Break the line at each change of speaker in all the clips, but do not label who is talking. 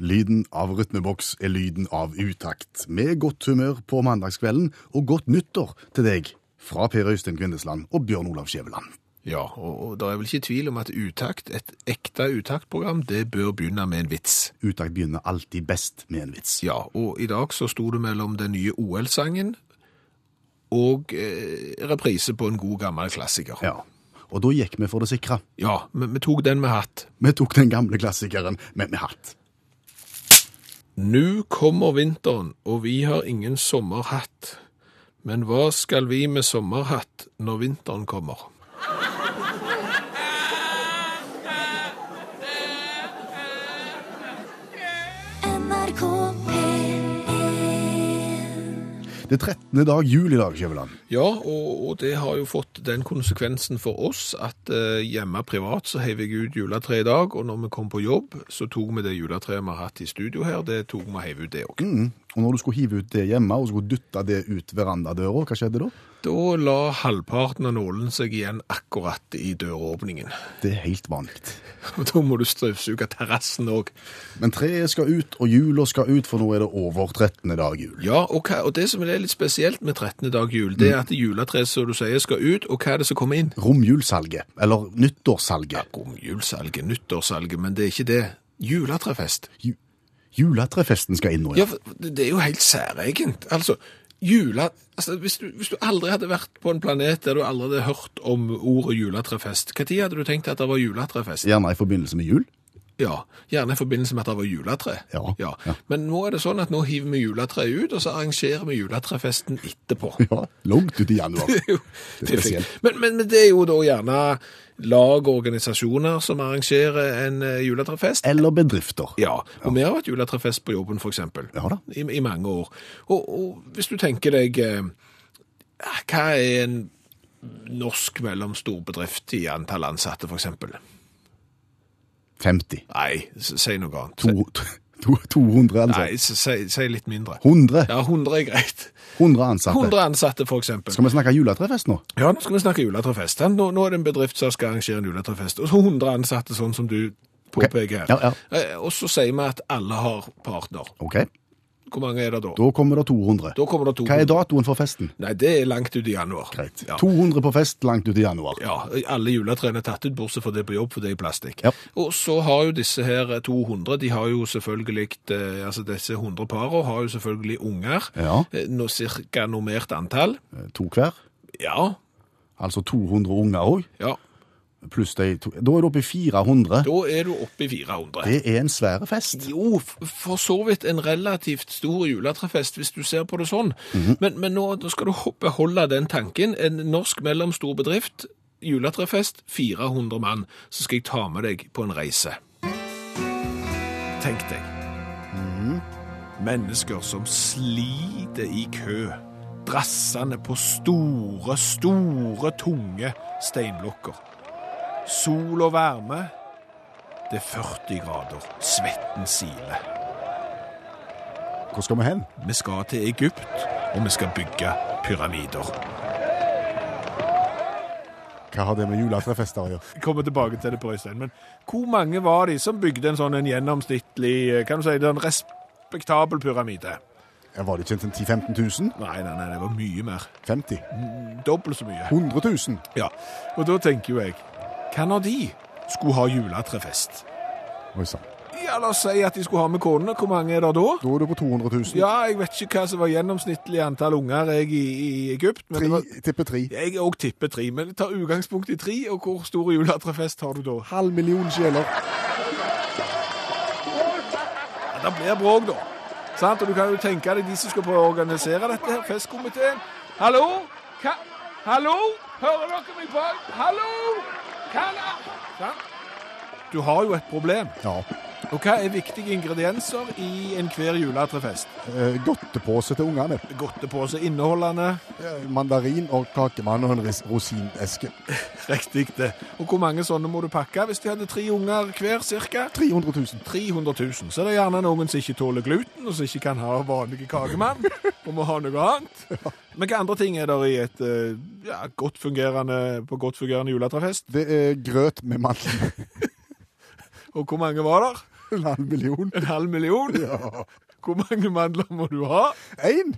Lyden av rytmeboks er lyden av utakt. Med godt humør på mandagskvelden, og godt nyttår til deg fra Per Øystein Kvindesland og Bjørn Olav Skjæveland.
Ja, og, og det er vel ikke tvil om at utakt, et ekte utaktprogram, det bør begynne med en vits.
Utakt begynner alltid best med en vits.
Ja, og i dag så sto det mellom den nye OL-sangen og eh, reprise på en god gammel klassiker.
Ja. Og da gikk vi for det sikre.
Ja, vi, vi tok den med hatt.
Vi tok den gamle klassikeren, men med hatt.
Nu kommer vinteren, og vi har ingen sommerhatt. Men hva skal vi med sommerhatt når vinteren kommer?
NRK P1
Det er 13. dag jul i dag, Skjæveland.
Ja, og, og det har jo fått den konsekvensen for oss at eh, hjemme privat så heiv jeg ut juletreet i dag, og når vi kom på jobb, så tok vi det juletreet vi har hatt i studio her, det tok vi og heiv ut det òg.
Mm. Og når du skulle hive ut det hjemme, og skulle dytte det ut verandadøra, hva skjedde da?
Da la halvparten av nålen seg igjen akkurat i døråpningen.
Det er helt vanlig.
Og da må du støvsuge terrassen òg.
Men treet skal ut, og jula skal ut, for nå er det over 13. dag jul.
Ja, og, hva, og det som er litt spesielt med 13. dag jul, det er at juletreet, som du sier, skal ut, og hva er det som kommer inn?
Romjulsalget, eller nyttårssalget.
Romjulsalget, nyttårssalget, men det er ikke det. Juletrefest.
Ju juletrefesten skal inn nå,
Ja,
ja.
for det det er jo helt særegent. Altså, jula... Altså, hvis du, hvis du aldri hadde vært på en planet der du aldri hadde hørt om ordet juletrefest, hva tid hadde du tenkt at det var juletrefest?
Gjerne i forbindelse med jul.
Ja, gjerne i forbindelse med at det var juletre.
Ja, ja.
Men nå er det sånn at nå hiver vi juletreet ut, og så arrangerer vi juletrefesten etterpå.
Ja, langt ut i januar.
Jo,
Det er spesielt.
fint. Men, men, men det er jo da gjerne lag og organisasjoner som arrangerer en eh, juletrefest.
Eller bedrifter.
Ja, og vi har hatt juletrefest på jobben for eksempel.
Ja da.
I, I mange år. Og, og hvis du tenker deg, eh, hva er en norsk mellomstor bedrift i antall ansatte for eksempel?
50.
Nei, s- si noe annet.
To, to, 200
Nei,
ansatte.
s- si, si litt mindre.
100.
Ja, 100 er greit.
100 ansatte.
100 ansatte for eksempel.
Skal vi snakke juletrefest nå?
Ja, nå skal vi snakke juletrefest. Nå, nå er det en bedrift som skal arrangere en juletrefest. Og så 100 ansatte, sånn som du påpeker her.
Ja, ja.
Eh, Og så sier vi at alle har partner.
Ok,
Hvor mange er det da?
da kommer det 200.
Da kommer det to.
Hva er datoen for festen?
Nei, det er langt ut i januar.
Greit.
Ja.
200 på fest langt ut i januar.
Ja, alle juletrærne er tatt ut, bortsett fra det på jobb, for det er i plastikk.
Ja.
Og så har jo disse her 200, de har jo selvfølgelig, eh, altså disse 100 parene har jo selvfølgelig unger,
Ja.
Eh, nå cirka normert antall.
Eh, To hver.
Ja,
Altså 200 unger òg,
ja.
pluss de to Da er du oppe i 400.
Da er du oppe i 400.
Det er en svær fest.
Jo, f- for så vidt en relativt stor juletrefest, hvis du ser på det sånn. Men, men nå, nå skal du ho- beholde den tanken. En norsk mellomstor bedrift, juletrefest, 400 mann. Så skal jeg ta med deg på en reise. Tenk deg. Mhm. Mennesker som sliter i kø, drassende på store, store, tunge steinblokker. Sol og varme. Det er 40 grader. Svetten siler.
Hvor skal vi hen?
Vi skal til Egypt, og vi skal bygge pyramider.
Hva har det med juletrefester å gjøre?
Jeg kommer tilbake til det på Øystein, men hvor mange var de som bygde en sånn en gjennomsnittlig, eh, kan du si, en respektabel pyramide?
Var det ikke en 10 000-15 000?
Nei, nei, nei, det var mye mer.
50 000?
Dobbelt så mye.
100 000?
Ja, og da tenker jo jeg, hva når de skulle ha juletrefest?
Oi sann.
Ja, la oss si at de skulle ha med konene. Hvor mange er det da?
Da er du på 200 000.
Ja, jeg vet ikke hva som var gjennomsnittlig antall unger jeg i, i Egypt. Men det
Tre,
var,
tipper tre.
jeg òg tipper tre, men tar utgangspunkt i tre. Og hvor stor juletrefest har du da?
Halv million sjeler.
Ja, Det blir bråk, da. Sant? Og du kan jo tenke deg de som skal prøve å organisere dette her, festkomiteen. Hallo? Ka Hallo? Hører dere meg bak? Hallo? Kan jeg Sant? Du har jo et problem.
Ja.
Og hva er viktige ingredienser i enhver juletrefest?
Eh, Godtepose til ungene.
Godtepose inneholdende.
Eh, Mandarin og kakemann og en ris- rosineske.
Riktig, det. Og hvor mange sånne må du pakke hvis de hadde tre unger hver, cirka?
300 000.
300 000. Så det er gjerne noen som ikke tåler gluten, og som ikke kan ha vanlige kakemann, og må ha noe annet. Men hva andre ting er der i et eh, ja, godt fungerende, på godt fungerende juletrefest?
Det er grøt med mandel.
Og hvor mange var der?
En halv million.
En halv million?
Ja.
Hvor mange mandler må du ha?
Én?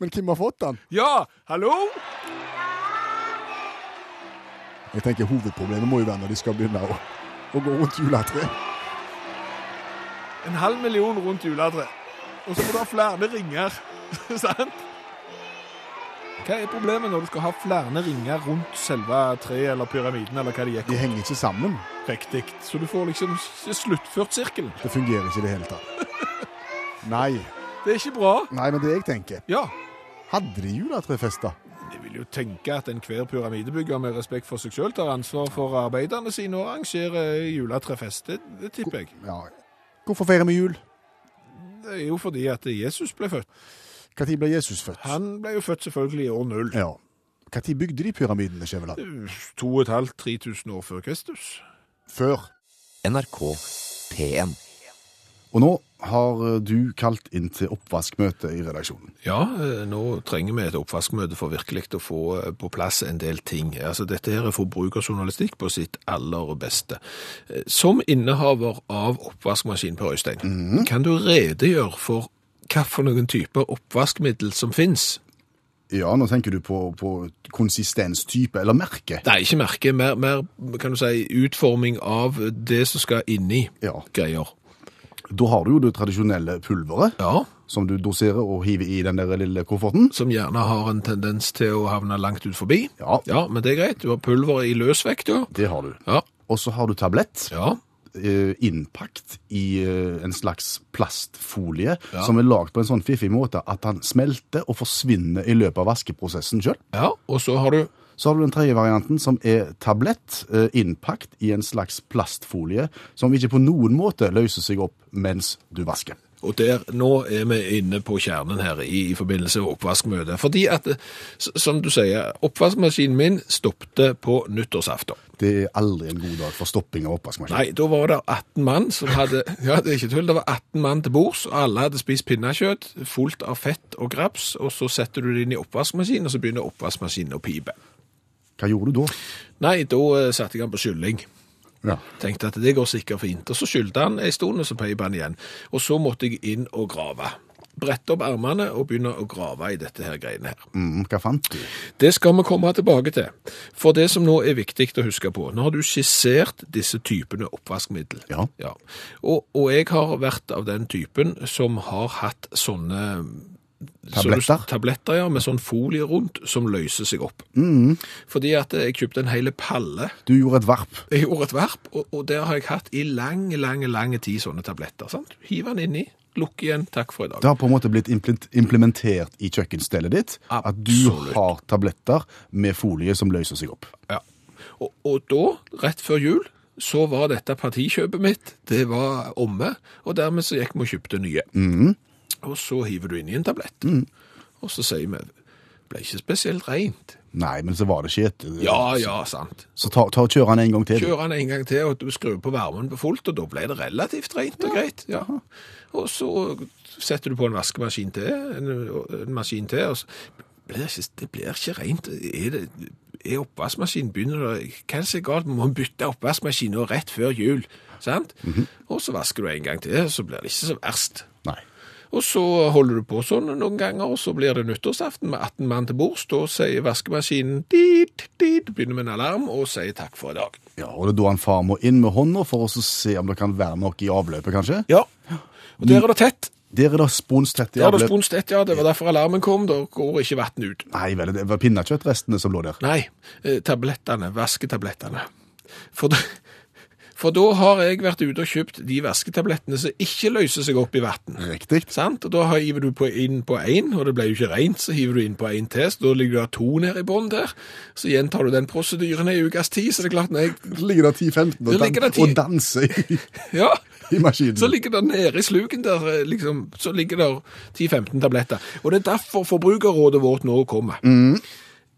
Men hvem har fått den?
Ja, hallo?
Jeg tenker Hovedproblemet må jo være når de skal begynne å, å gå rundt juletreet.
En halv million rundt juletreet. Og så må du ha flere ringer. Sant? Hva er problemet når du skal ha flere ringer rundt selve treet eller pyramiden? eller hva det gikk
De henger ikke sammen.
riktig? Så du får liksom s- sluttført sirkelen.
Det fungerer ikke i det hele tatt. Nei.
Det er ikke bra.
Nei, men det jeg tenker
Ja,
Hadde de juletrefester?
Jeg vil jo tenke at enhver pyramidebygger med respekt for seg sjøl tar ansvar for arbeiderne sine og arrangerer juletrefest. Det, det tipper jeg.
Ja. Hvorfor feirer vi jul?
Det er jo fordi at Jesus ble født.
Når ble Jesus født?
Han ble jo født selvfølgelig i år null.
Ja. Når bygde de pyramidene, Skjæveland?
2500-3000 år før Kristus.
Før.
NRK P1.
Og nå har eh, du kalt inn til oppvaskmøte i redaksjonen.
Ja, eh, nå trenger vi et oppvaskmøte for virkelig å få eh, på plass en del ting. Altså, dette her er forbrukerjournalistikk på sitt aller beste. Eh, Som innehaver av oppvaskmaskin, Per Øystein,
Mhm.
kan du redegjøre for hva for noen typer oppvaskmiddel som finnes?
Ja, nå tenker du på, på konsistenstype, eller merke.
Nei, ikke merke, mer, mer kan du si, utforming av det som skal inni
Ja.
greier.
Da har du jo det tradisjonelle pulveret,
Ja,
som du doserer og hiver i den der lille kofferten.
som gjerne har en tendens til å havne langt ut forbi.
Ja.
Ja, men det er greit. Du har pulver i løsvekt, du.
Det har du.
Ja.
Og så har du tablett,
Ja.
eh, innpakt i eh, en slags plastfolie,
Ja.
som er lagd på en sånn fiffig måte at han smelter og forsvinner i løpet av vaskeprosessen sjøl.
ja. Og så har du
Så har du den tredje varianten, som er tablett, eh, innpakt i en slags plastfolie, som ikke på noen måte løser seg opp mens du vasker.
Og der, nå er vi inne på kjernen her i, i forbindelse med oppvaskmøtet. Fordi at, eh, s- som du sier, oppvaskmaskinen min stoppte på nyttårsaften.
Det er aldri en god dag for stopping av oppvaskmaskin.
Nei, da var det 18 mann som hadde Ja, det er ikke tull. Det var 18 mann til bords, og alle hadde spist pinnekjøtt fullt av fett og graps. Og så setter du det inn i oppvaskmaskinen, og så begynner oppvaskmaskinen å pipe.
Hva gjorde du da?
Nei, da eh, satte jeg den på kylling.
Ja.
Tenkte at det går sikkert fint. Og så skyldte han en stund, og så peip han igjen. Og så måtte jeg inn og grave. Brette opp armene og begynne å grave i dette her greiene her.
Mm, hva fant du?
Det skal vi komme tilbake til. For det som nå er viktig å huske på, nå har du skissert disse typene oppvaskmiddel.
Ja.
Og, og jeg har vært av den typen som har hatt sånne
Tabletter?
så du- tabletter, ja, med sånn folie rundt som løser seg opp.
Mm.
Fordi at jeg kjøpte en hel palle
Du gjorde et varp.
jeg gjorde et varp, og, og der har jeg hatt i lang, lang, lang tid sånne tabletter. sant? Hiv den inni, lukk igjen, takk for i dag.
Det har på en måte blitt implent- implementert i kjøkkenstellet ditt at
Absolutt.
du har tabletter med folie som løser seg opp.
Ja. Og, og da, rett før jul, så var dette partikjøpet mitt, det var omme, og dermed så gikk vi og kjøpte nye. Og så hiver du inni en tablett, og så sier vi, ble ikke spesielt rent.
Nei, men så var det ikke et
Ja, ja, sant.
Så ta, ta og kjør han en gang til. du.
Kjører han en gang til, og du skrur på varmen på fullt, og da ble det relativt rent og greit. Ja. Og så setter du på en vaskemaskin til, en, en maskin til, og så blir ikke, det blir ikke rent. Er det... Er oppvaskmaskinen begynner å... Hva er det som er galt? Man må bytte oppvaskmaskin nå rett før jul, sant? Og så vasker du en gang til, så blir det ikke så verst.
Nei.
Og så holder du på sånn noen ganger, og så blir det nyttårsaften med 18 mann til bords. Da sier vaskemaskinen dit, dit, begynner med en alarm og sier takk for i dag.
Ja, og det er da han far må inn med hånda for å så se om det kan være noe i avløpet, kanskje?
Ja. Og der er det tett.
Der er det sponstett i
Der er det
avløpet.
sponst ett, ja. Det var derfor alarmen kom. Da går ikke vann ut.
Nei vel, det var pinnekjøttrestene som lå der.
Nei, eh, tablettene, vasketablettene. For da, for da har jeg vært ute og kjøpt de vasketablettene som ikke løser seg opp i vann.
Riktig.
Sant? Og da har- hiver du på inn på én, og det ble jo ikke rent, så hiver du inn på én til, så da ligger det to nede i bånn der. Så gjentar du den prosedyren i ukas tid, så det er klart nei,
Så ligger det 10-15 og,
Det ligger
dan
der 10.
og danser i,
ja.
i maskinen.
Så ligger det nede i sluken der, eh, liksom, så ligger det 10-15 tabletter. Og det er derfor forbrukerrådet vårt nå kommer.
Mm.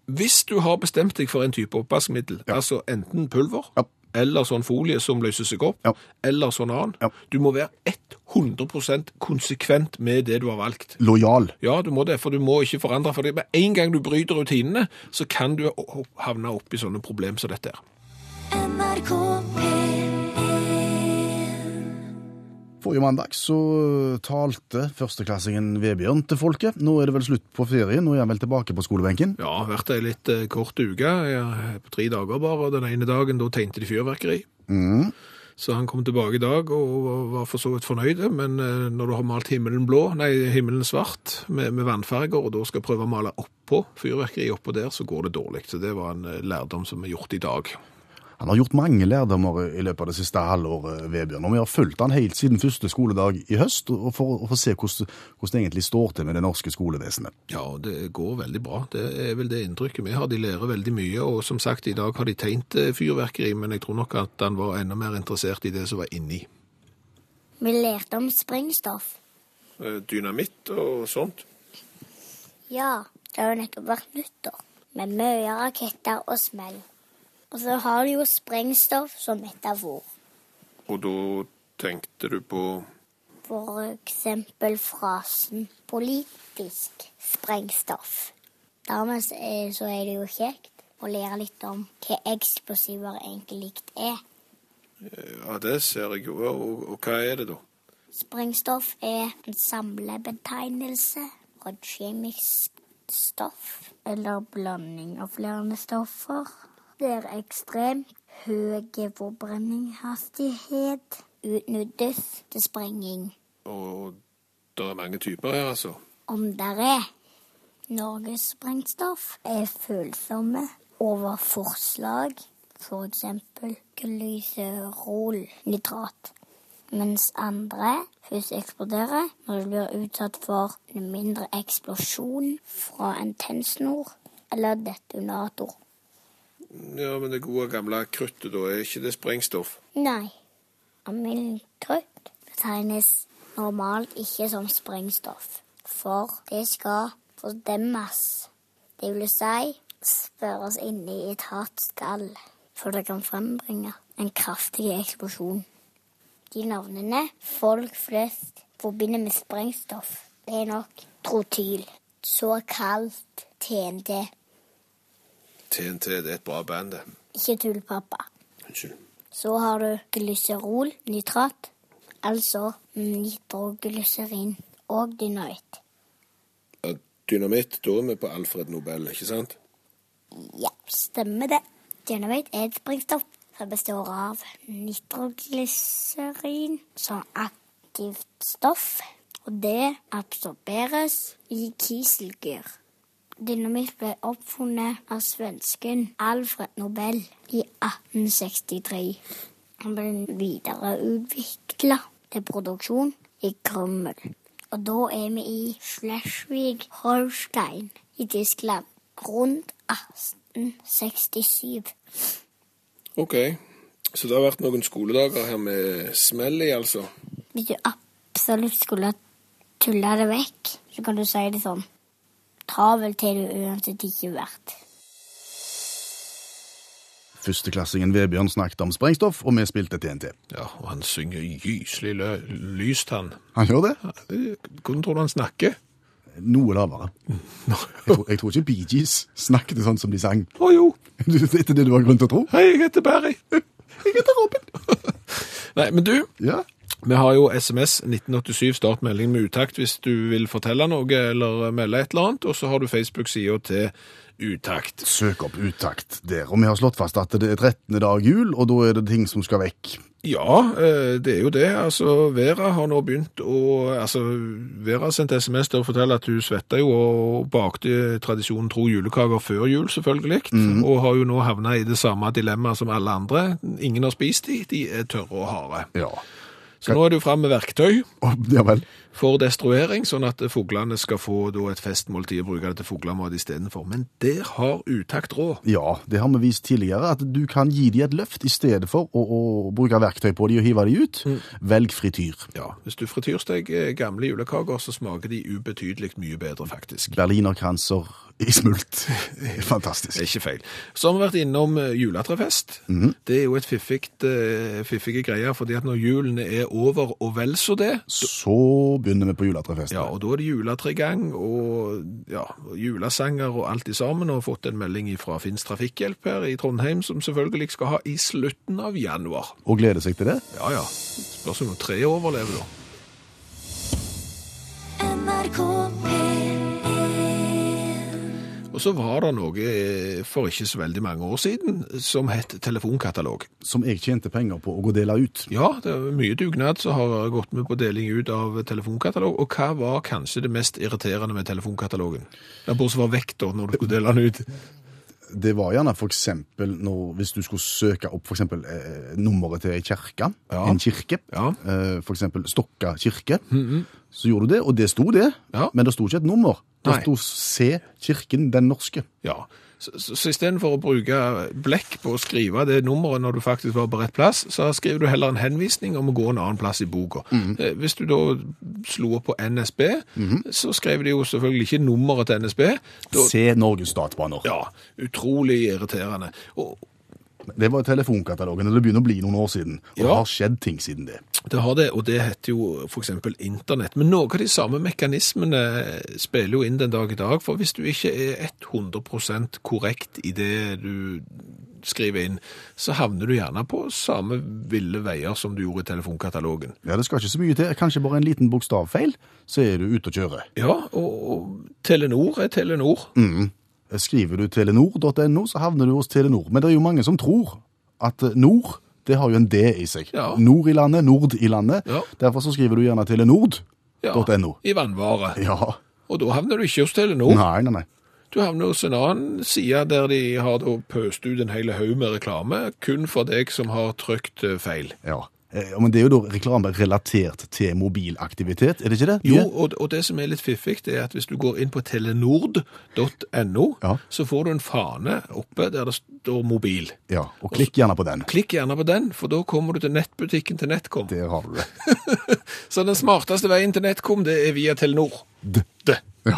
Hvis du har bestemt deg for en type oppvaskmiddel, altså enten pulver,
Ja.
eller sånn folie som løser seg opp,
Ja.
eller sånn annen,
Ja.
du må være 100 konsekvent med det du har valgt.
Lojal.
Ja, du må det, for du må ikke forandre. For det. med en gang du bryter rutinene, så kan du o- havne opp i sånne problem som dette her.
NRK P1
Forrige mandag så talte førsteklassingen Vebjørn til folket. Nå er det vel slutt på ferien, nå er han vel tilbake på skolebenken.
Ja, det har vært ei litt eh, kort uke. Jeg- På tre dager bare. og Den ene dagen da tegnte de fyrverkeri.
Mm.
Så han kom tilbake i dag og var for så vidt fornøyd, men eh, når du har malt himmelen blå, nei, himmelen svart med, med vannfarger, og da skal prøve å male oppå fyrverkeri oppå der, så går det dårlig. Så det var en eh, lærdom som er gjort i dag.
Han har gjort mange lærdommer i løpet av det siste halvåret, Vebjørn. Og vi har fulgt han helt siden første skoledag i høst, og for å få se hvordan, hvordan det egentlig står til med det norske skolevesenet.
Ja, og det går veldig bra. Det er vel det inntrykket vi har. De lærer veldig mye, og som sagt, i dag har de tegnet eh, fyrverkeri, men jeg tror nok at han var enda mer interessert i det som var inni.
Vi lærte om sprengstoff.
Eh, Dynamitt og sånt.
Ja, det har jo nettopp vært nyttår. Med mye raketter og smell. Og så har de jo sprengstoff som metafor.
Og da tenkte du på
For eksempel frasen 'politisk sprengstoff'. Dermed så er- så er det jo kjekt å lære litt om hva eksplosiver egentlig er.
Ja, det ser jeg jo. Og, og hva er det, da?
Sprengstoff er en samlebetegnelse for et kjemisk stoff eller blanding av flere stoffer. Det er ekstremt høy forbrenningshastighet utnyttes til sprenging.
Og det er mange typer her, altså.
Om der er Norges sprengstoff er følsomme over forslag, f.eks. glyserolnitrat, mens andre først eksploderer når de blir utsatt for en mindre eksplosjon fra en tennsnor eller detonator.
Ja, men det gode gamle kruttet, da, er ikke det sprengstoff?
Nei, amynkrutt betegnes normalt ikke som sprengstoff, for det skal fordemmes. Det vil si spørres inni et hardt skall, for det kan frembringe en kraftig eksplosjon. De navnene folk flest forbinder med sprengstoff, det er nok trotyl, såkalt TNT.
TNT det er et bra band, det.
Ikke tull, pappa.
Unnskyld.
Så har du glyserolnitrat, altså nitroglyserin og dynamitt.
Ja, dynamitt, da er vi på Alfred Nobel, ikke sant?
Ja, stemmer det. Dynamitt er et sprengstoff som består av nitroglyserin som aktivt stoff, og det absorberes i kiselgyr. Dynamitt ble oppfunnet av svensken Alfred Nobel i 1863. Han ble videre utvikla til produksjon i Krømmel. Og da er vi i Schleswig-Holstein i Tyskland rundt 1867.
OK. Så det har vært noen skoledager her med smell i, altså.
Hvis du absolutt skulle tulle det vekk, så kan du si det sånn. Travel til du uansett ikke vært.
Førsteklassingen Vebjørn snakket om sprengstoff, og vi spilte TNT.
Ja, og han synger gyselig lø- lyst, han.
Han gjør det?
Ja, det- Hvordan tror du han snakker?
Noe lavere. Jeg tror, jeg tror ikke Bee Gees snakket sånn som de sang.
Å jo,
Etter det du har grunn til å tro?
hei, jeg heter Barry. Jeg heter Robin. Nei, men du,
Ja.
Vi har jo SMS 1987, start melding med utakt hvis du vil fortelle noe eller melde et eller annet, og så har du Facebook-sida til utakt.
Søk opp uttakt der. Og vi har slått fast at det er 13. dag jul, og da er det ting som skal vekk.
Ja, eh, det er jo det. Altså, Vera har nå begynt å Altså, Vera sendte SMS der og forteller at hun svetta jo og bakte tradisjonen tro julekaker før jul, selvfølgelig, og har jo nå havna i det samme dilemmaet som alle andre. Ingen har spist de, de er tørre og harde.
Ja.
Så nå er det jo fram med verktøy.
Og, ja vel.
for destruering, sånn at fuglene skal få da, et festmåltid og bruke det til fuglemat istedenfor. Men der har utakt råd.
Ja, det har vi vist tidligere, at du kan gi dem et løft i stedet for å, å bruke verktøy på dem og hive dem ut. Velg frityr.
Mm. Ja, hvis du frityrsteg eh, gamle julekaker, så smaker de ubetydelig mye bedre, faktisk.
Berlinerkranser i smult. Fantastisk.
Det er ikke feil. Så har vi vært innom eh, juletrefest. Det er jo et fiffigt, eh, fiffige greier, fordi at når julen er over og vel så det,
Så begynner vi på juletrefesten.
ja, og da er det juletregang og ja, og julesanger og alt i sammen, og har fått en melding fra Finns Trafikkhjelp her i Trondheim, som selvfølgelig skal ha i slutten av januar.
Og gleder seg til det.
Ja, ja. Spørs om noen tre overlever, da.
NRK P1
Og så var det noe eh, for ikke så veldig mange år siden som het telefonkatalog.
Som jeg tjente penger på å gå og dele ut.
Ja, det er mye dugnad som har gått med på deling ut av telefonkatalog. Og hva var kanskje det mest irriterende med telefonkatalogen? Det er bortsett fra vekta når du skulle dele den ut.
Det var gjerne for eksempel når, hvis du skulle søke opp for eksempel eh, nummeret til ei kirke,
Ja.
en kirke,
Ja. Mhm.
eh, for eksempel Stokka kirke, så gjorde du det, og det sto det,
Ja.
men det sto ikke et nummer. Det
Nei.
sto Se kirken den norske.
Ja, Så, så, så istedenfor å bruke blekk på å skrive det nummeret når du faktisk var på rett plass, så skriver du heller en henvisning om å gå en annen plass i boka. Eh, Hvis du da slo opp på NSB, så skrev de jo selvfølgelig ikke nummeret til NSB. Da,
Se Norges statsbaner.
ja, utrolig irriterende. Og,
Det var telefonkatalogen, og det begynner å bli noen år siden, og det
Ja.
har skjedd ting siden det.
Det har det, og det heter jo f.eks. internett. Men noen av de samme mekanismene spiller jo inn den dag i dag. For hvis du ikke er 100 korrekt i det du skriver inn, så havner du gjerne på samme ville veier som du gjorde i telefonkatalogen.
Ja, det skal ikke så mye til. Kanskje bare en liten bokstavfeil, så er du ute å kjøre.
Ja, og, og Telenor er Telenor.
Skriver du telenor.no, så havner du hos Telenor. Men det er jo mange som tror at eh, nord, det har jo en D i seg.
Ja.
Nord i landet, nord i landet.
Ja.
Derfor så skriver du gjerne telenord.
Ja,
.no.
I vannvare.
Ja.
Og da havner du ikke hos Telenor.
Nei, nei, nei.
Du havner hos en annen side der de har da pøst ut en hel haug med reklame kun for deg som har trykt eh, feil.
Ja. Eh, Men det er jo da reklame relatert til mobilaktivitet, er det ikke det?
Jo, og, og det som er litt fiffig, det er at hvis du går inn på telenord.no,
Ja.
så får du en fane oppe der det står mobil.
Ja, og klikk gjerne på den.
Klikk gjerne på den, for da kommer du til nettbutikken til Netcom.
Der har du det.
Så den smarteste veien til Netcom, det er via Telenor. Det.
Ja.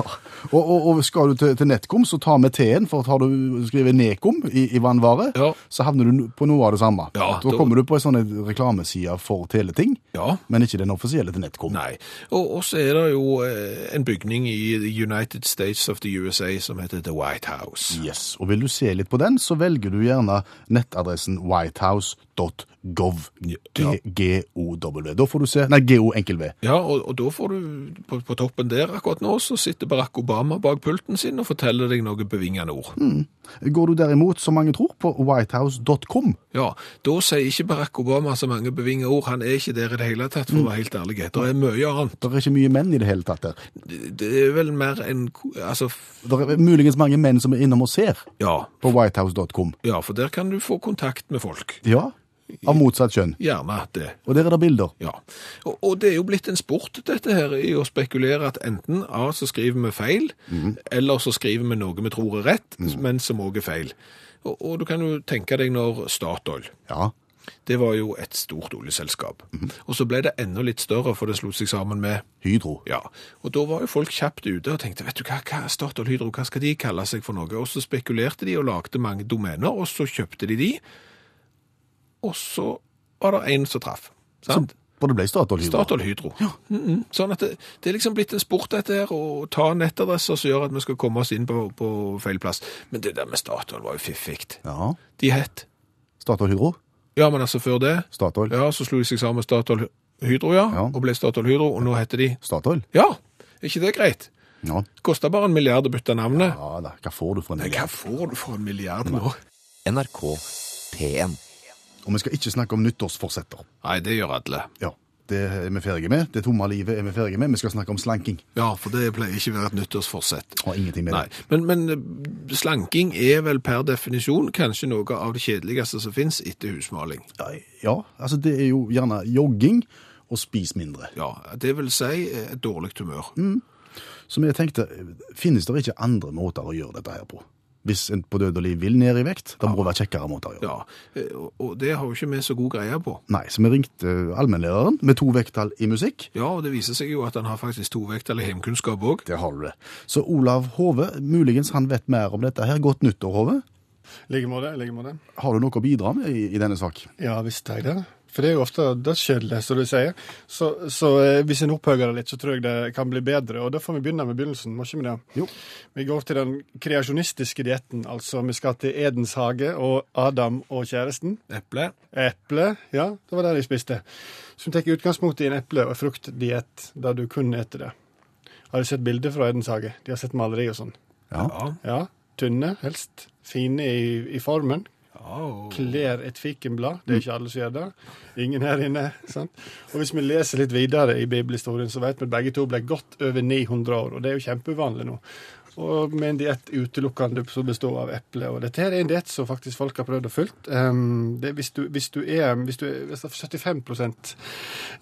Og, og, og skal du til, til Netcom, så ta med T-en, for har du skrevet Nekom i, i vannvare,
Ja.
så havner du på noe av det samme.
Ja,
da
da-
kommer du på en sånn reklameside for teleting,
Ja.
men ikke den offisielle til Netcom.
Nei. Og og så er det jo eh, en bygning i the United States of the USA som heter The White House.
Yes. Og vil du se litt på den, så velger du gjerne nettadressen whitehouse.gov.
Ja.
G- G-O-W. Da får du se Nei, G-O-enkel-V.
Ja, og, og da får du på, på toppen der akkurat nå, så sitter Barack Obama bak pulten sin og forteller deg noe bevingende ord.
Går du derimot, som mange tror, på whitehouse.com,
Ja, da sier ikke Barack Obama så mange bevinga ord. Han er ikke der i det hele tatt, for å være helt ærlig. Det er mye annet.
det er ikke mye menn i det hele tatt der.
Det er vel mer enn Altså, f-
Det er muligens mange menn som er innom og ser
ja.
på whitehouse.com.
Ja, for der kan du få kontakt med folk.
Ja. Av motsatt kjønn.
Gjerne det.
Og der er det bilder.
Ja. Og, og det er jo blitt en sport, dette her, i å spekulere at enten A, så skriver vi feil, eller så skriver vi noe vi tror er rett, men som òg er feil. Og, og du kan jo tenke deg når Statoil
Ja.
Det var jo et stort oljeselskap. Og så ble det enda litt større, for det slo seg sammen med
Hydro.
Ja, og da var jo folk kjapt ute og tenkte, vet du hva, hva Statoil Hydro, hva skal de kalle seg for noe? Og så spekulerte de og lagde mange domener, og så kjøpte de de, og så var det en som traff, sant?
For det ble Statoil Hydro.
Statoil Hydro. Mm -mm. Sånn at det, det er liksom blitt en sport dette her, å ta nettadresser som gjør at vi skal komme oss inn på, på feil plass. Men det der med Statoil var jo fiffikt.
Ja.
De het,
Statoil Hydro.
ja, men altså før det,
Statoil.
ja, så slo de seg sammen med Statoil Hydro, ja,
Ja.
og ble Statoil Hydro, og nå heter de,
Statoil.
ja, er ikke det greit?
Ja.
Kosta bare en milliard å bytte navnet.
ja da. Hva får du for en
Men
milliard?
Hva får du for en milliard nå?
NRK P1.
Og vi skal ikke snakke om nyttårsforsetter.
Nei, det gjør alle.
Ja. Det er vi ferdige med. Det tomme livet er vi ferdige med. Vi skal snakke om slanking.
Ja, for det pleier ikke å være et nyttårsforsett.
Har ingenting med
Nei,
det.
men, men eh, slanking er vel per definisjon kanskje noe av det kjedeligste som finnes etter husmaling.
Ja, altså det er jo gjerne jogging og spis mindre.
Ja, det vil si eh, et dårlig humør.
Som jeg tenkte, finnes det ikke andre måter å gjøre dette her på? Hvis en på død og liv vil ned i vekt, da må det være kjekkere måter å gjøre det.
Ja, eh, og- og det har jo ikke vi så god greie på.
Nei, så vi ringte eh, allmennlæreren med to vekttall i musikk.
Ja, og det viser seg jo at han har faktisk tovekt eller heimkunnskap òg.
Der har du det. Så Olav Hove, muligens han vet mer om dette her. Godt nyttår, Hove.
I like måte. i like måte.
Har du noe å bidra med i, i denne sak?
Ja visst har jeg det. For det er jo ofte dødskjedelig, som du sier. Så, så eh, hvis en opphøyer det litt, så tror jeg det kan bli bedre. Og da får vi begynne med begynnelsen, må ikke vi det?
Jo.
Vi går til den kreasjonistiske dietten, altså. Vi skal til Edens hage og Adam og kjæresten.
Eple.
Eple, ja, det var det jeg spiste. Som tar utgangspunkt i en eple- og fruktdiett der du kun eter det. Har du sett bilder fra Edens hage? De har sett maleri og sånn.
Ja.
Ja.
Ja, tynne helst. Fine i, i formen.
Ja,
Kler et fikenblad. Det er ikke alle som gjør det. Ingen her inne. sant? Og hvis vi leser litt videre i bibelhistorien, så vet vi at begge to ble godt over 900 år, og det er jo kjempeuvanlig nå. Og med en diett utelukkende som består av eple. Og dette her er en diett som faktisk folk har prøvd og fulgt. Ehm, det, er hvis, du, hvis du er hvis du er, hvis det er 75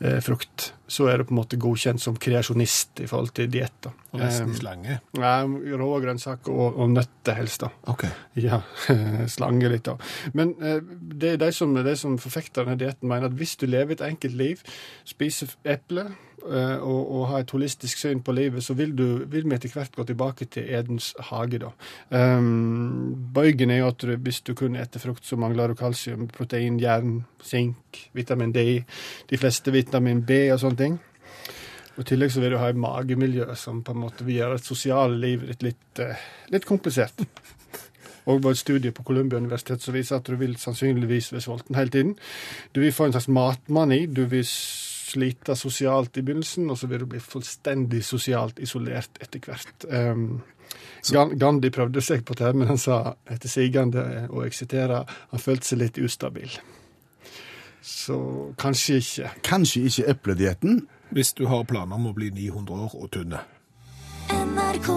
eh, frukt, så er du på en måte godkjent som kreasjonist i forhold til dietter.
og resten
Ehm,
slange.
Nei, rå grønnsaker og, og nøtter helst, da.
Ok.
Ja, slange litt, da. Men eh, det er de som, de som forfekter denne dietten, mener at hvis du lever et enkelt liv, spiser f- eple eh, og, og har et holistisk syn på livet, så vil, du, vil vi etter hvert gå tilbake til Edens hage, da. Um, bøygen er jo at du, hvis du kun eter frukt, så mangler du kalsium, protein, jern, sink, vitamin D, de fleste vitamin B og sånne ting. Og I tillegg så vil du ha et magemiljø som på en måte vil gjøre et sosiale livet ditt litt, eh, litt komplisert. Og det var et studie på Columbia universitet som viser at du vil sannsynligvis være sulten hele tiden. Du vil få en slags matmani, du vil slite sosialt i begynnelsen, og så vil du bli fullstendig sosialt isolert etter hvert. Um, Gan- Gandhi prøvde seg på det, her, men han sa etter sigende og jeg siterer, han følte seg litt ustabil. Så kanskje ikke.
Kanskje ikke epledietten.
Hvis du har planer om å bli 900 år og tynne.
NRK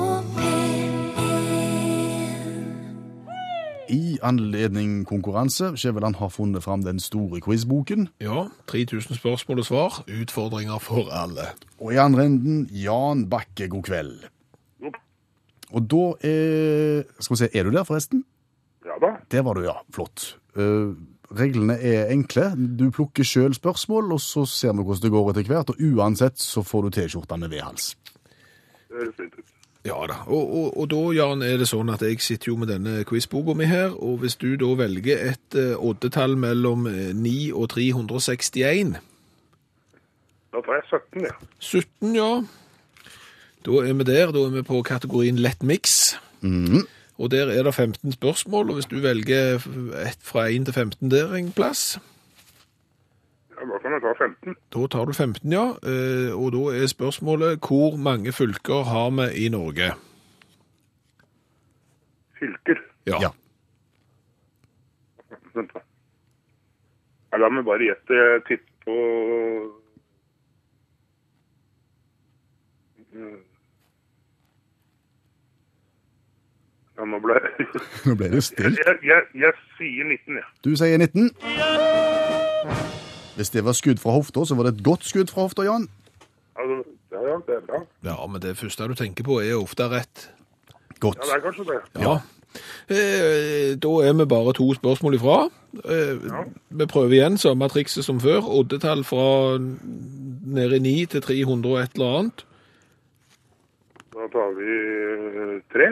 P1
I anledning konkurranse, Skjæveland har funnet fram den store quizboken.
Ja, 3000 spørsmål og svar. Utfordringer for alle.
Og i andre enden, Jan Bakke, god kveld. Og da er Skal vi se, er du der forresten?
Ja da.
Der var du, ja. Flott. Eh, reglene er enkle. Du plukker sjøl spørsmål, og så ser vi hvordan det går etter hvert. Og uansett så får du T-skjorta med V-hals.
Det høres fint ut.
Ja da. Og, og, og da, Jan, er det sånn at jeg sitter jo med denne quizboka mi her, og hvis du da velger et eh, oddetall mellom eh, 9 og 361
Da tar jeg 17, ja.
17, ja. Da er vi der. Da er vi på kategorien lett mix. Og der er det 15 spørsmål, og hvis du velger et fra 1 til 15 der en plass,
ja. Da kan jeg ta 15.
da tar du 15, ja. Eh, Og da er spørsmålet hvor mange fylker har vi i Norge?
Fylker.
Ja.
Vent da. Ja, La meg bare gjette. Jeg tipper på Mm. Ja, nå ble jeg
Nå ble det stilt.
jeg, jeg, jeg sier 19, jeg.
Du sier 19. Hvis det var skudd fra hofta, så var det et godt skudd fra hofta, Jan.
Altså, ja, ja, det er bra.
Ja, men det første du tenker på er ofte rett.
Godt.
Ja, det er kanskje det.
Ja. Eh, Da er vi bare to spørsmål ifra. Eh, Vi prøver igjen samme trikset som før. Oddetall fra nede i 9 til 300 og et eller annet.
Da tar vi eh, tre.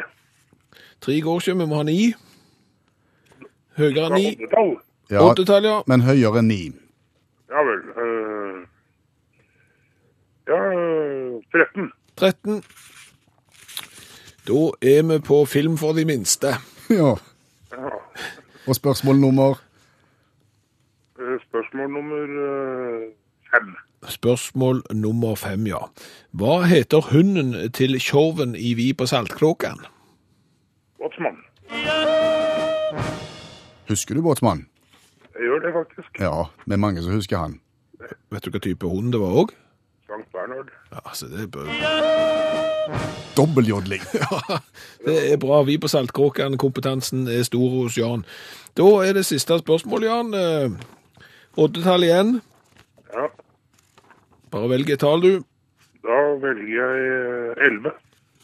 Tre går ikke, vi må ha ni. Høyere
Da
enn ni.
oddetall.
Ja,
Oddetall, ja.
men høyere enn 9.
Ja vel. eh, ja, eh, 13.
13. Da er vi på film for de minste.
Ja.
Ja.
Og spørsmål nummer
Eh, Spørsmål nummer eh, fem.
Spørsmål nummer fem, ja. Hva heter hunden til tjorven i Vi på Saltkråkan?
Båtsmann.
Husker du, båtsmann?
Jeg gjør det faktisk.
Ja, det er mange som husker han.
Vet du hva type hund det var òg?
Sankt Bernhard.
Ja, altså, det, bør...
Dobbeltjodling.
det er bra. Vi på Saltkråkan, kompetansen er stor hos Jan. Da er det siste spørsmål, Jan. Eh, Oddetall igjen.
Ja,
Bare velg et tall, du.
da velger jeg eh, 11.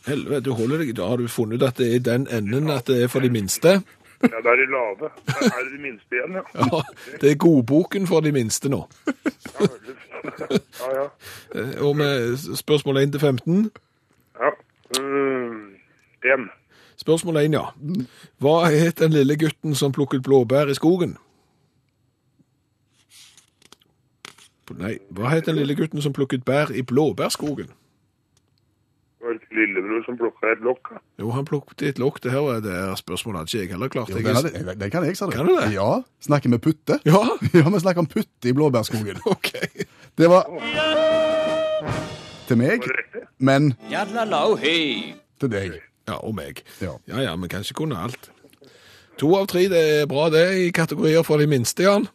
Helvete, du holder deg. Da har du funnet ut at det er i den enden at det er for de minste.
Ja, det er de lave. Det er de minste igjen, ja.
Ja, det er godboken for de minste nå.
Ja, veldig. ja. ja.
Eh, Og med spørsmål 1 til 15.
ja. Mm, en.
Spørsmål 1, ja. Hva het den lille gutten som plukket blåbær i skogen? Nei, hva het den lille gutten som plukket bær i blåbærskogen?
Det var ikke lillebror som plukka et lokk. da.
Jo, han plukket et lokk. Det her er det her spørsmålet hadde ikke jeg heller klart.
Jo,
Jeg
den,
er-
hadde, den- den kan jeg, sa du.
Kan du det?
Ja. Snakker vi putte?
Ja,
Ja, vi snakker om putte i blåbærskogen.
ok.
Det var til meg,
Var det riktig?
men til deg.
Ja, og meg.
Ja.
Ja, ja, men kanskje kunne alt. To av tre, det er bra det, i kategorier for de minste, Jan.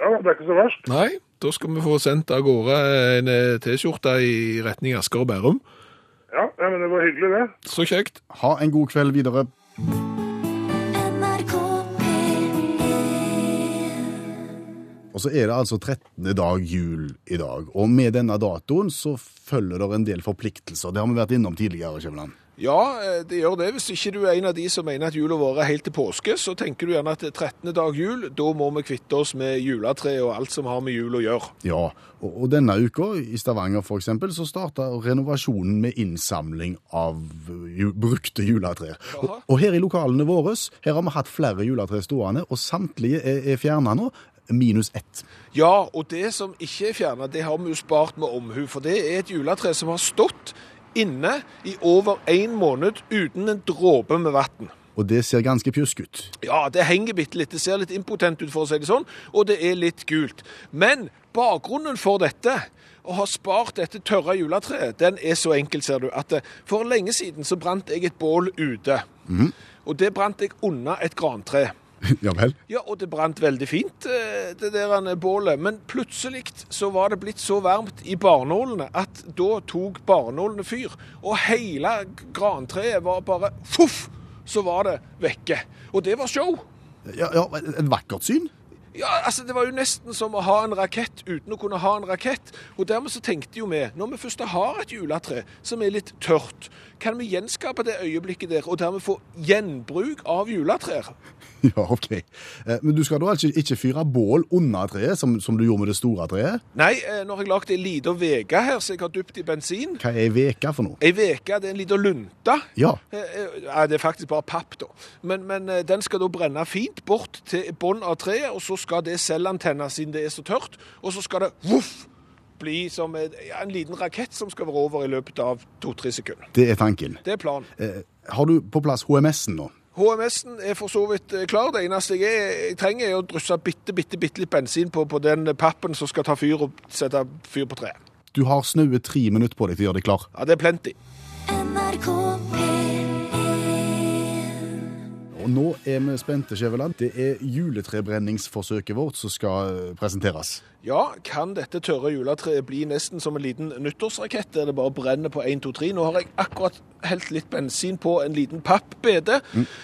Ja, det er ikke så verst.
Nei, da skal vi få sendt av gårde en eh, T-skjorte i retning Asker og Bærum.
Ja, ja, men det var hyggelig, det.
Så kjekt.
Ha en god kveld videre.
NRK P1
Og så er det altså 13. dag jul i dag, og med denne datoen så følger det en del forpliktelser. Det har vi vært innom tidligere, Kjøvland.
Ja, eh, det gjør det. Hvis ikke du er en av de som mener at jula vår er helt til påske, så tenker du gjerne at det er 13. dag jul, da må vi kvitte oss med juletre og alt som har med jul å gjøre.
Ja, og, og denne uka i Stavanger for eksempel, så starta renovasjonen med innsamling av eh, ju, brukte juletrær. Og, og her i lokalene våre her har vi hatt flere juletre stående, og samtlige er, er fjerna nå, minus ett.
Ja, og det som ikke er fjerna, det har vi jo spart med omhu. For det er et juletre som har stått inne i over en måned uten en dråpe med vann.
Og det ser ganske pjusk ut.
Ja, det henger bitte litt. Det ser litt impotent ut, for å si det sånn, og det er litt gult. Men bakgrunnen for dette, å ha spart dette tørre juletreet, den er så enkel, ser du, at eh, for lenge siden så brant jeg et bål ute. Og det brant jeg unna et grantre.
ja vel?
Ja, og det brant veldig fint, eh, det der eh, bålet. Men plutselig så var det blitt så varmt i barnålene at da tok barnålene fyr. Og hele grantreet var bare Fuff! Så var det vekke. Og det var show.
Ja, ja, et vakkert syn.
Ja, altså Det var jo nesten som å ha en rakett uten å kunne ha en rakett. Og dermed så tenkte jo vi, når vi først har et juletre som er litt tørt, kan vi gjenskape det øyeblikket der, og dermed få gjenbruk av juletrær?
Ja, ok. Eh, Men du skal da altså ikke fyre bål under treet, som, som du gjorde med det store treet?
Nei, eh, nå har jeg lagd ei lita veke her som jeg har dypt i bensin.
Hva er veka for noe?
Ei veke, det er en lita lunte.
Ja,
Eh, eh, ja, det er faktisk bare papp, da. Men, men eh, den skal da brenne fint bort til bånn av treet, og så skal det selvantenne siden det er så tørt. Og så skal det voff, bli som eh, ja, en liten rakett som skal være over i løpet av to-tre sekunder.
det er tanken.
Det er planen.
Eh, Har du på plass HMS-en nå?
HMS-en er for så vidt eh, klar. Det eneste jeg, er, jeg trenger, er å drysse bitte, bitte, bitte litt bensin på, på den pappen som skal ta fyr og sette fyr på treet.
Du har snaue tre minutter på deg til å gjøre deg klar.
Ja, det er plenty.
NRK P1
Og nå er vi spente, Skjæveland. Det er juletrebrenningsforsøket vårt som skal eh, presenteres.
Ja, kan dette tørre juletreet bli nesten som en liten nyttårsrakett, der det bare brenner på 1, 2, 3? Nå har jeg akkurat helt litt bensin på en liten pappbede,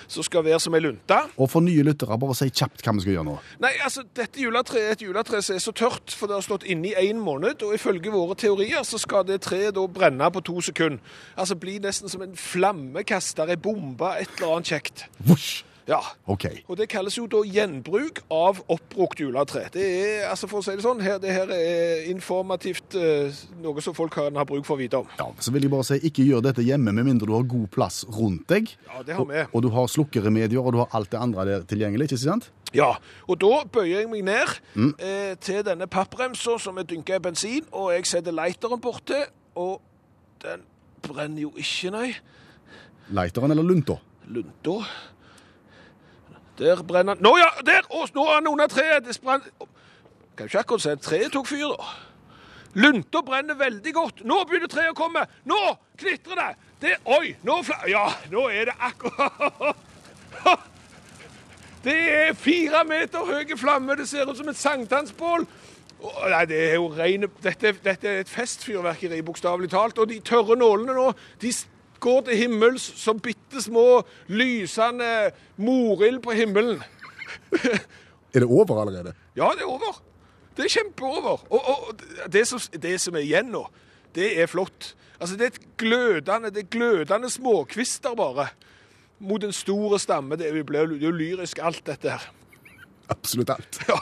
som skal være som ei lunte.
Og for nye lyttere, bare si kjapt hva vi skal gjøre nå.
Nei, altså, dette juletreet er et juletre som er så tørt, for det har stått inne i én måned, og ifølge våre teorier så skal det treet da brenne på to sekunder. Altså bli nesten som en flammekaster, ei bombe, et eller annet kjekt.
Vosj!
Ja.
OK.
Og det kalles jo da gjenbruk av oppbrukt juletre. Det er, altså for å si det sånn, her, det her er informativt eh, noe som folk kan ha bruk for å vite om.
Ja, så vil jeg bare si, ikke gjør dette hjemme med mindre du har god plass rundt deg.
Ja, det har vi.
Og, og du har slukkeremedier, og du har alt det andre der tilgjengelig, ikke sant?
Ja, og da bøyer jeg meg ned eh, til denne pappremsa som er dynka i bensin, og jeg setter lighteren borti, og den brenner jo ikke, nei.
Lighteren eller lunta?
Lunta. Der brenner den. Nå ja, der! Å, nå er den under treet! Det sprang Kan ikke akkurat si at treet tok fyr, da. Lunta brenner veldig godt. Nå begynner treet å komme! Nå klitrer det! det oi, nå fla... Ja, nå er det akkurat Det er fire meter høye flammer. Det ser ut som et sankthansbål. Å, Nei, det er jo rene, dette, dette er et festfyrverkeri, bokstavelig talt. Og de tørre nålene nå, de s- går til himmels som bitte små lysende morild på himmelen.
Er det over allerede?
Ja, det er over. Det er kjempeover. Og, og det, som, det som er igjen nå, det er flott. Altså, det er et glødende, det er glødende småkvister bare. Mot en stor stamme. Det blir jo lyrisk, alt dette her.
Absolutt alt.
Ja,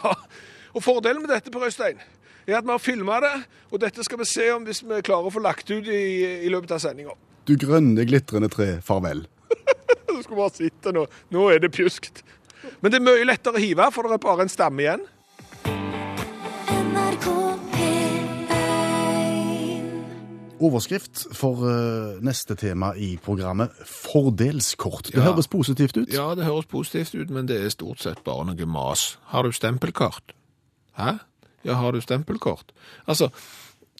og fordelen med dette, Per Øystein, er at vi har filma det, og dette skal vi se om hvis vi klarer å få lagt ut i, i løpet av sendinga.
Du grønne, glitrende tre, farvel.
Du skulle bare sitte nå. Nå er det pjuskt. Men det er mye lettere å hive, for det er bare en stamme igjen.
NRK P1
Overskrift for eh, neste tema i programmet fordelskort. Det
Ja.
høres positivt ut.
Ja, det høres positivt ut, men det er stort sett bare noe mas. Har du stempelkort? Hæ? Ja, har du stempelkort? Altså,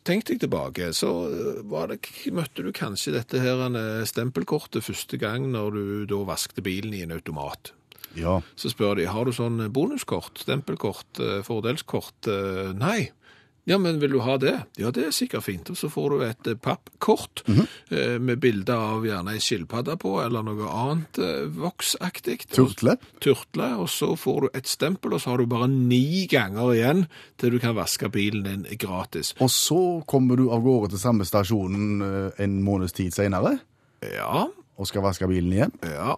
tenk deg tilbake, så øh, var det, møtte du kanskje dette her øh, stempelkortet første gang når du da vaskte bilen i en automat.
Ja.
Så spør de, har du sånn bonuskort, stempelkort, øh, fordelskort? Øh, Nei. Ja, men vil du ha det? Ja, det er sikkert fint. Og så får du et eh, pappkort eh, med bilde av gjerne ei skilpadde på, eller noe annet eh, voksaktig.
Turtle?
Turtle, og så får du et stempel, og så har du bare ni ganger igjen til du kan vaske bilen din gratis.
Og så kommer du av gårde til samme stasjonen eh, en måneds tid seinere
Ja,
og skal vaske bilen igjen.
ja.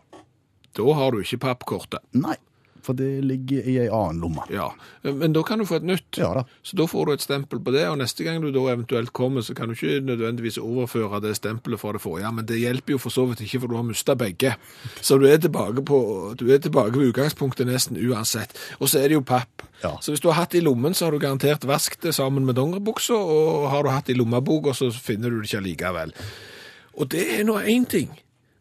Da har du ikke pappkortet.
Nei, for det ligger i ei annen lomme.
Ja, Eh, Men da kan du få et nytt.
Ja da.
Så da får du et stempel på det, og neste gang du da eventuelt kommer, så kan du ikke nødvendigvis overføre det stempelet fra det forrige, ja, men det hjelper jo for så vidt ikke, for du har mista begge. Så du er tilbake på, du er tilbake på utgangspunktet nesten uansett. Og så er det jo papp.
Ja.
Så hvis du har hatt det i lommen, så har du garantert vasket det sammen med dongeribuksa, og har du hatt det i lommeboka, så finner du det ikke allikevel. Og det er nå én ting,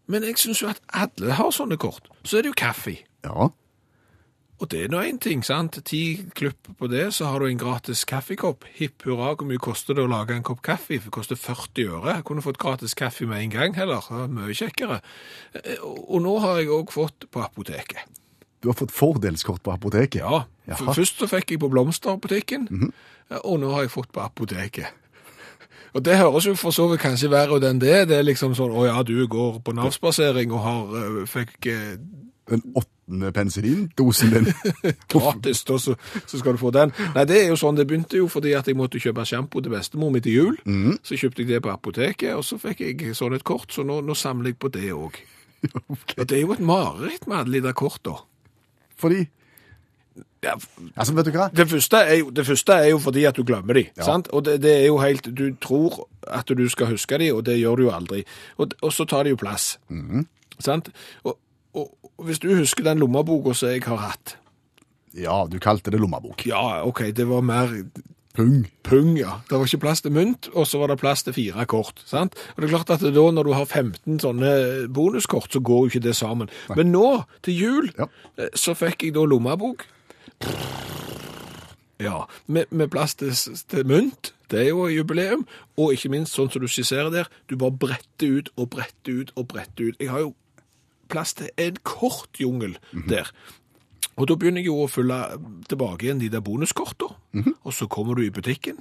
men jeg syns jo at alle har sånne kort. Så er det jo kaffe.
Ja.
Og det er nå én ting, sant? Ti klipp på det, så har du en gratis kaffekopp. Hipp hurra, hvor mye koster det å lage en kopp kaffe? Det koster 40 øre. Jeg kunne fått gratis kaffe med en gang heller. Det var Mye kjekkere. Eh, Og og nå har jeg òg fått på apoteket.
Du har fått fordelskort på apoteket.
Ja. f-
Jaha.
Først så fikk jeg på blomsterbutikken, eh, og nå har jeg fått på apoteket. Og det høres jo for så vidt kanskje verre ut enn det. Det er liksom sånn å ja, du går på Nav-spasering og har, eh, fikk eh,
Den åttende penicillindosen din.
gratis, da, så, så skal du få den. Nei, det er jo sånn, det begynte jo fordi at jeg måtte kjøpe sjampo til bestemor mi til jul. Så kjøpte jeg det på apoteket, og så fikk jeg sånn et kort, så nå, nå samler jeg på det òg. Og det er jo et mareritt med alle de der korta.
Fordi
Ja,
Altså, vet du hva?
det første, er jo, det første er jo fordi at du glemmer de, sant? Og det, det er jo helt, du tror at du skal huske de, og det gjør du jo aldri. Og, og så tar de jo plass, sant? Og, og, og hvis du husker den lommeboka som jeg har hatt,
Ja, du kalte det lommebok.
ja, ok, det var mer
Pung.
Pung, ja. Det var ikke plass til mynt, og så var det plass til fire kort. sant? Og det er klart at da Når du har 15 sånne bonuskort, så går jo ikke det sammen. Men nå, til jul,
Ja.
eh, så fikk jeg da lommebok. Ja, med, med plass til, s- til mynt, det er jo jubileum, og ikke minst sånn som du skisserer der, du bare bretter ut og bretter ut og bretter ut. Jeg har jo plass til en kort jungel der. Og da begynner jeg jo å følge tilbake igjen de der bonuskortene.
Mhm.
Og så kommer du i butikken,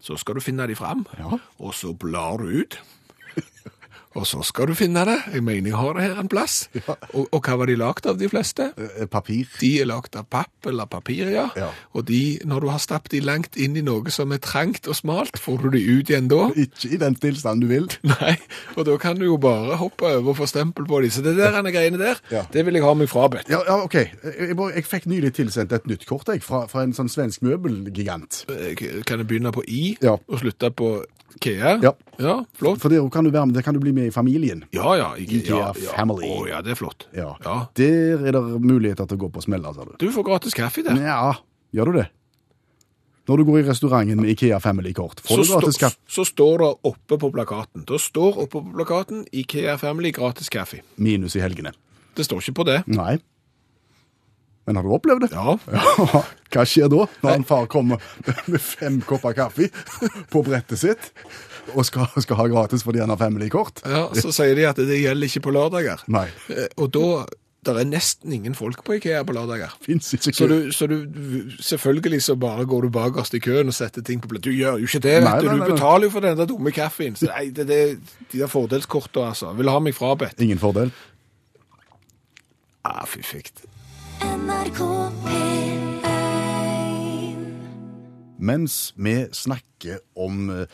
så skal du finne de fram, og så blar du ut. Og så skal du finne det. Jeg mener jeg har det her en plass. Og, og hva var de lagd av, de fleste?
Eh, Papir.
De er lagd av papp eller papir, ja.
Ja.
Og de, når du har stappet de langt inn i noe som er trangt og smalt, får du de ut igjen da.
Ikke i den tilstanden du vil.
Nei, og da kan du jo bare hoppe over og få stempel på de. Så det der ene greiene der,
Ja.
det vil jeg ha meg frabedt.
Ja, ja OK. Eh, Jeg, bare, jeg fikk nylig tilsendt et nytt kort jeg, fra, fra en sånn svensk møbelgigant.
Eh, Kan jeg begynne på I
Ja.
og slutte på KEA?
Ja.
ja flott.
For der kan du være med, der kan du bli med i familien.
Ja, ja. jeg-
IKEA
ja, ja.
Family.
Å ja, det er flott.
Ja. Der er det muligheter til å gå på smeller, sa du.
Du får gratis kaffe der.
Ja, gjør du det? Når du går i restauranten med Ikea Family-kort, får du
så,
gratis
stå,
kaffe.
så står det oppe på plakaten. Da står oppe på plakaten IKEA Family gratis kaffe.
Minus i helgene.
Det står ikke på det.
Nei. Men har du opplevd det?
Ja.
Ja, Hva skjer da, når en far kommer med fem kopper kaffe på brettet sitt, og skal, skal ha gratis fordi han har family-kort?
ja. Så sier de at det gjelder ikke på lørdager.
Nei.
Eh, Og da der er nesten ingen folk på IKEA på lørdager.
Fins ikke
Så du, så du selvfølgelig så bare går du bakerst i køen og setter ting på plass. Du gjør jo ikke det, vet
Nei,
du.
nei, nei,
Du
nei.
betaler jo for den der dumme kaffen. Så nei, det, det, de der fordelskortene, altså. Vil ha meg frabedt.
Ingen fordel.
Ah, fy fikt.
NRK P1
Mens vi snakker om eh,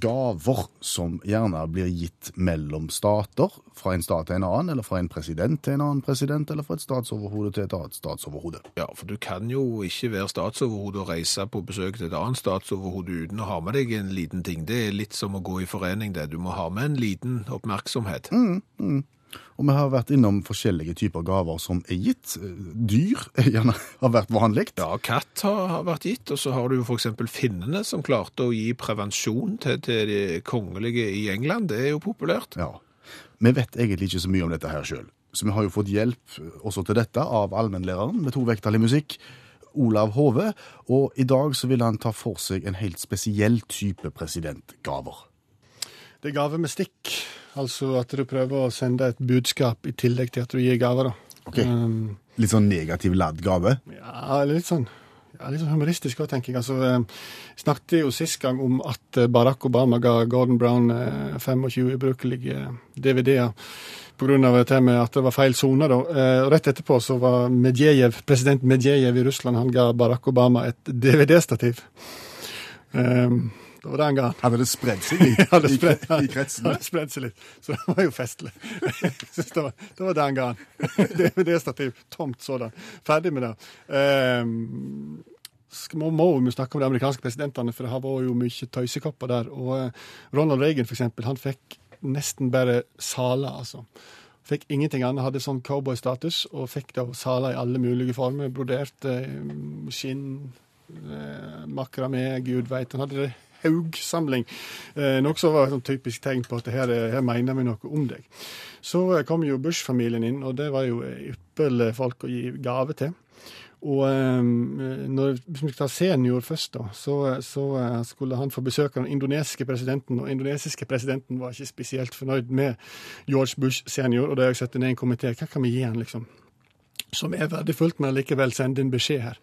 gaver som gjerne blir gitt mellom stater, fra en stat til en annen, eller fra en president til en annen president, eller fra et statsoverhode til et annet statsoverhode.
Ja, for du kan jo ikke være statsoverhode og reise på besøk til et annet statsoverhode uten å ha med deg en
Mm.
liten ting. Det er litt som å gå i forening, det. Du må ha med en liten oppmerksomhet.
Og vi har vært innom forskjellige typer gaver som er gitt. Eh, Dyr eh, gjerne har vært vanlig.
Ja, katt har, har vært gitt, og så har du f.eks. finnene som klarte å gi prevensjon til, til de kongelige i England. Det er jo populært.
Ja. Vi vet egentlig ikke så mye om dette her sjøl, så vi har jo fått hjelp eh, også til dette av allmennlæreren med tovektig musikk, Olav Hove, og i dag så vil han ta for seg en helt spesiell type presidentgaver.
Det er gave med stikk. Altså at du prøver å sende et budskap i tillegg til at du gir gaver. da.
Ok.
Um,
Litt sånn negativ ladd gave.
ja, litt sånn, ja, litt sånn humoristisk òg, tenker jeg. Altså, um, snakket jo sist gang om at eh, Barack Obama ga Gordon Brown eh, 25 ubrukelige eh, DVD-er pga. dette med at det var feil sone. da. Eh, Rett etterpå så var Medjejev, president Medjejev i Russland han ga Barack Obama et DVD-stativ. Um, det var det han ga han.
Hadde det spredd seg i,
Ja, det
i,
spred,
i kretsen?
ja, det spredde seg litt, så det var jo festlig. Jeg synes Det var, det var den gangen. Det er det stativ. Tomt sådan. Ferdig med det. Ehm, skal- må, må vi snakke om de amerikanske presidentene, for det har vært jo mye tøysekopper der. Og eh, Ronald Reagan, for eksempel, han fikk nesten bare saler, altså. Fikk ingenting annet, hadde sånn cowboystatus, og fikk da saler i alle mulige former. Brodert, eh, skinn, eh, makramé, gud veit. Han hadde det haugsamling. Eh, noe som var et sånt typisk tegn på at her, er- her mener vi noe om deg. Så eh, kom jo Bush-familien inn, og det var jo eh, ypperlige folk å gi gave til. Og eh, når, hvis vi tar senior først, da, så, så eh, skulle han få besøk av den indonesiske presidenten. Og den indonesiske presidenten var ikke spesielt fornøyd med George Bush senior. Og det har jeg sett i en komité. Hva kan vi gi han, liksom? Som er verdifullt, men likevel sende inn beskjed her.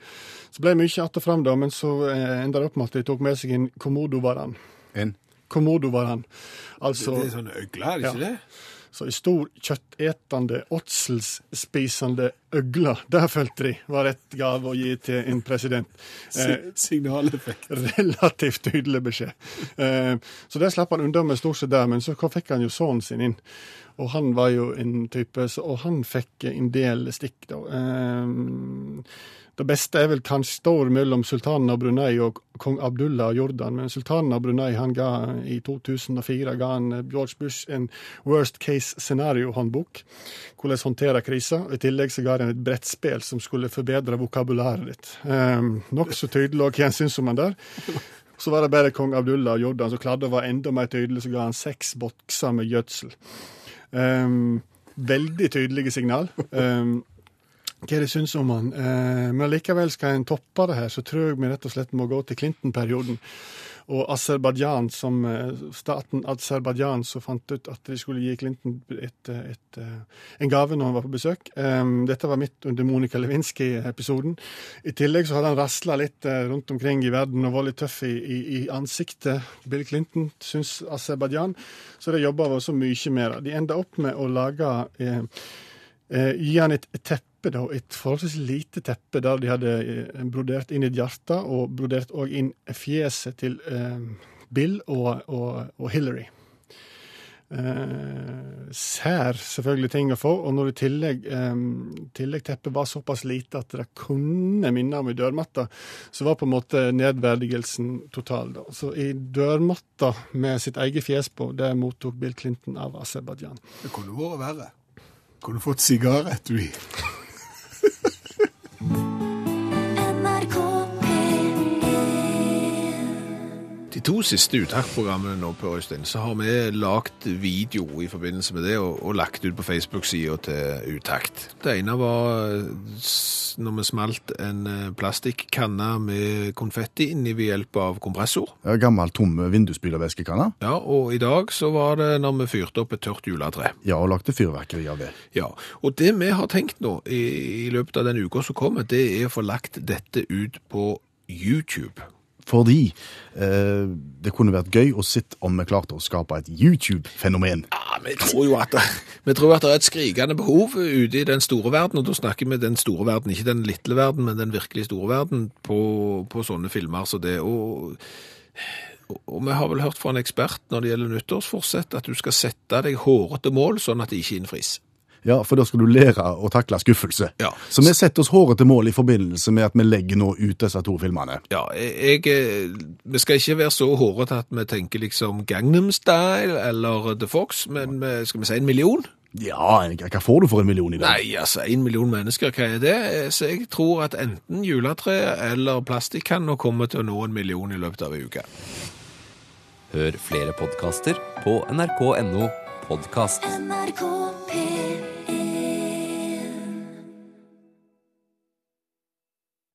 Så ble det mye att og fram, da, men så eh, enda det opp med at de tok med seg en komodovaran.
En.
Komodovaran. Altså
Det er sånne øgler, er det ikke
Ja.
det?
så en stor kjøttetende, åtselsspisende øgle. Der følte de var rett gave å gi til en president. Eh,
Signaleffekt.
relativt tydelig beskjed. Eh, så det slapp han unna med stort sett der, men så fikk han jo sønnen sin inn. Og han var jo en type så, Og han fikk en del stikk, da. Eh, det beste er vel kanskje står mellom sultanen av Brunei og kong Abdullah av Jordan, men sultanen av Brunei han ga i 2004 ga han eh, George Bush en worst case scenario-håndbok. Hvordan håndtere kriser. I tillegg så ga han et brettspill som skulle forbedre vokabulæret ditt. Eh, Nokså tydelig og hva han syns om han der. Så var det bare kong Abdullah av Jordan som klarte å være enda mer tydelig, så ga han seks bokser med gjødsel. Ehm, veldig tydelige signal. Ehm, hva er det syns om han? Ehm, men likevel skal en toppe det her, så tror jeg vi rett og slett må gå til Clinton-perioden. Og Aserbajdsjan, som eh, staten Aserbajdsjan som fant ut at de skulle gi Clinton et, eh, et, eh, en gave når han var på besøk. Ehm, dette var midt under Monica Lewinsky-episoden. I tillegg så hadde han rasla litt eh, rundt omkring i verden og var litt tøff i, i, i ansiktet. Bill Clinton syns Aserbajdsjan. Så de jobba så mye med det. De enda opp med å lage eh, eh, gi han et teppe, da, et forholdsvis lite teppe der de hadde eh, brodert inn et hjerte, og brodert òg inn fjeset til eh, Bill og, og, og Hillary. Eh, sær selvfølgelig ting å få, og når i tillegg, eh, tillegg teppet var såpass lite at det kunne minne om i dørmatta, så var på en måte nedverdigelsen total. da. Så i dørmatta med sitt eget fjes på, det mottok Bill Clinton av Aserbajdsjan.
Det kunne vært verre. Kunne fått sigar etter de.
NRK P1
De to siste Utakt-programmene nå på Øystein, så har vi lagt video i forbindelse med det, og, og lagt ut på Facebook-sida til Utakt. Det ene var eh, s- når vi smalt en eh, plastikkanne med konfetti inni ved hjelp av kompressor.
Ja, Gammel, tom vindusspylervæskekanne.
Ja, og i dag så var det når vi fyrte opp et tørt juletre.
Ja, og lagde fyrverkeri av det.
Ja, og det vi har tenkt nå i, i løpet av den uka som kommer, det er å få lagt dette ut på YouTube.
Fordi eh, det kunne vært gøy å sitte om vi klarte å skape et YouTube-fenomen.
Ja, vi tror jo at det, vi tror at det er et skrikende behov ute i den store verden, og da snakker vi den store verden, ikke den lille verden, men den virkelig store verden på, på sånne filmer som det. Og, og vi har vel hørt fra en ekspert når det gjelder nyttårsforsett, at du skal sette deg hårete mål sånn at de ikke innfris.
Ja, for da skal du lære å takle skuffelse.
Ja.
Så vi setter oss hårete mål i forbindelse med at vi legger nå ut disse to filmene.
Ja, jeg, jeg- vi skal ikke være så hårete at vi tenker liksom Gangnam Style eller The Fox, men vi- skal vi si en million?
Ja, hva får du for en million i dag?
Nei, altså, en million mennesker, hva er det? Eh, Så jeg tror at enten juletre eller plastikkanner kommer til å nå en million i løpet av en uke.
Hør flere podkaster på nrk.no podkast.
NRK P1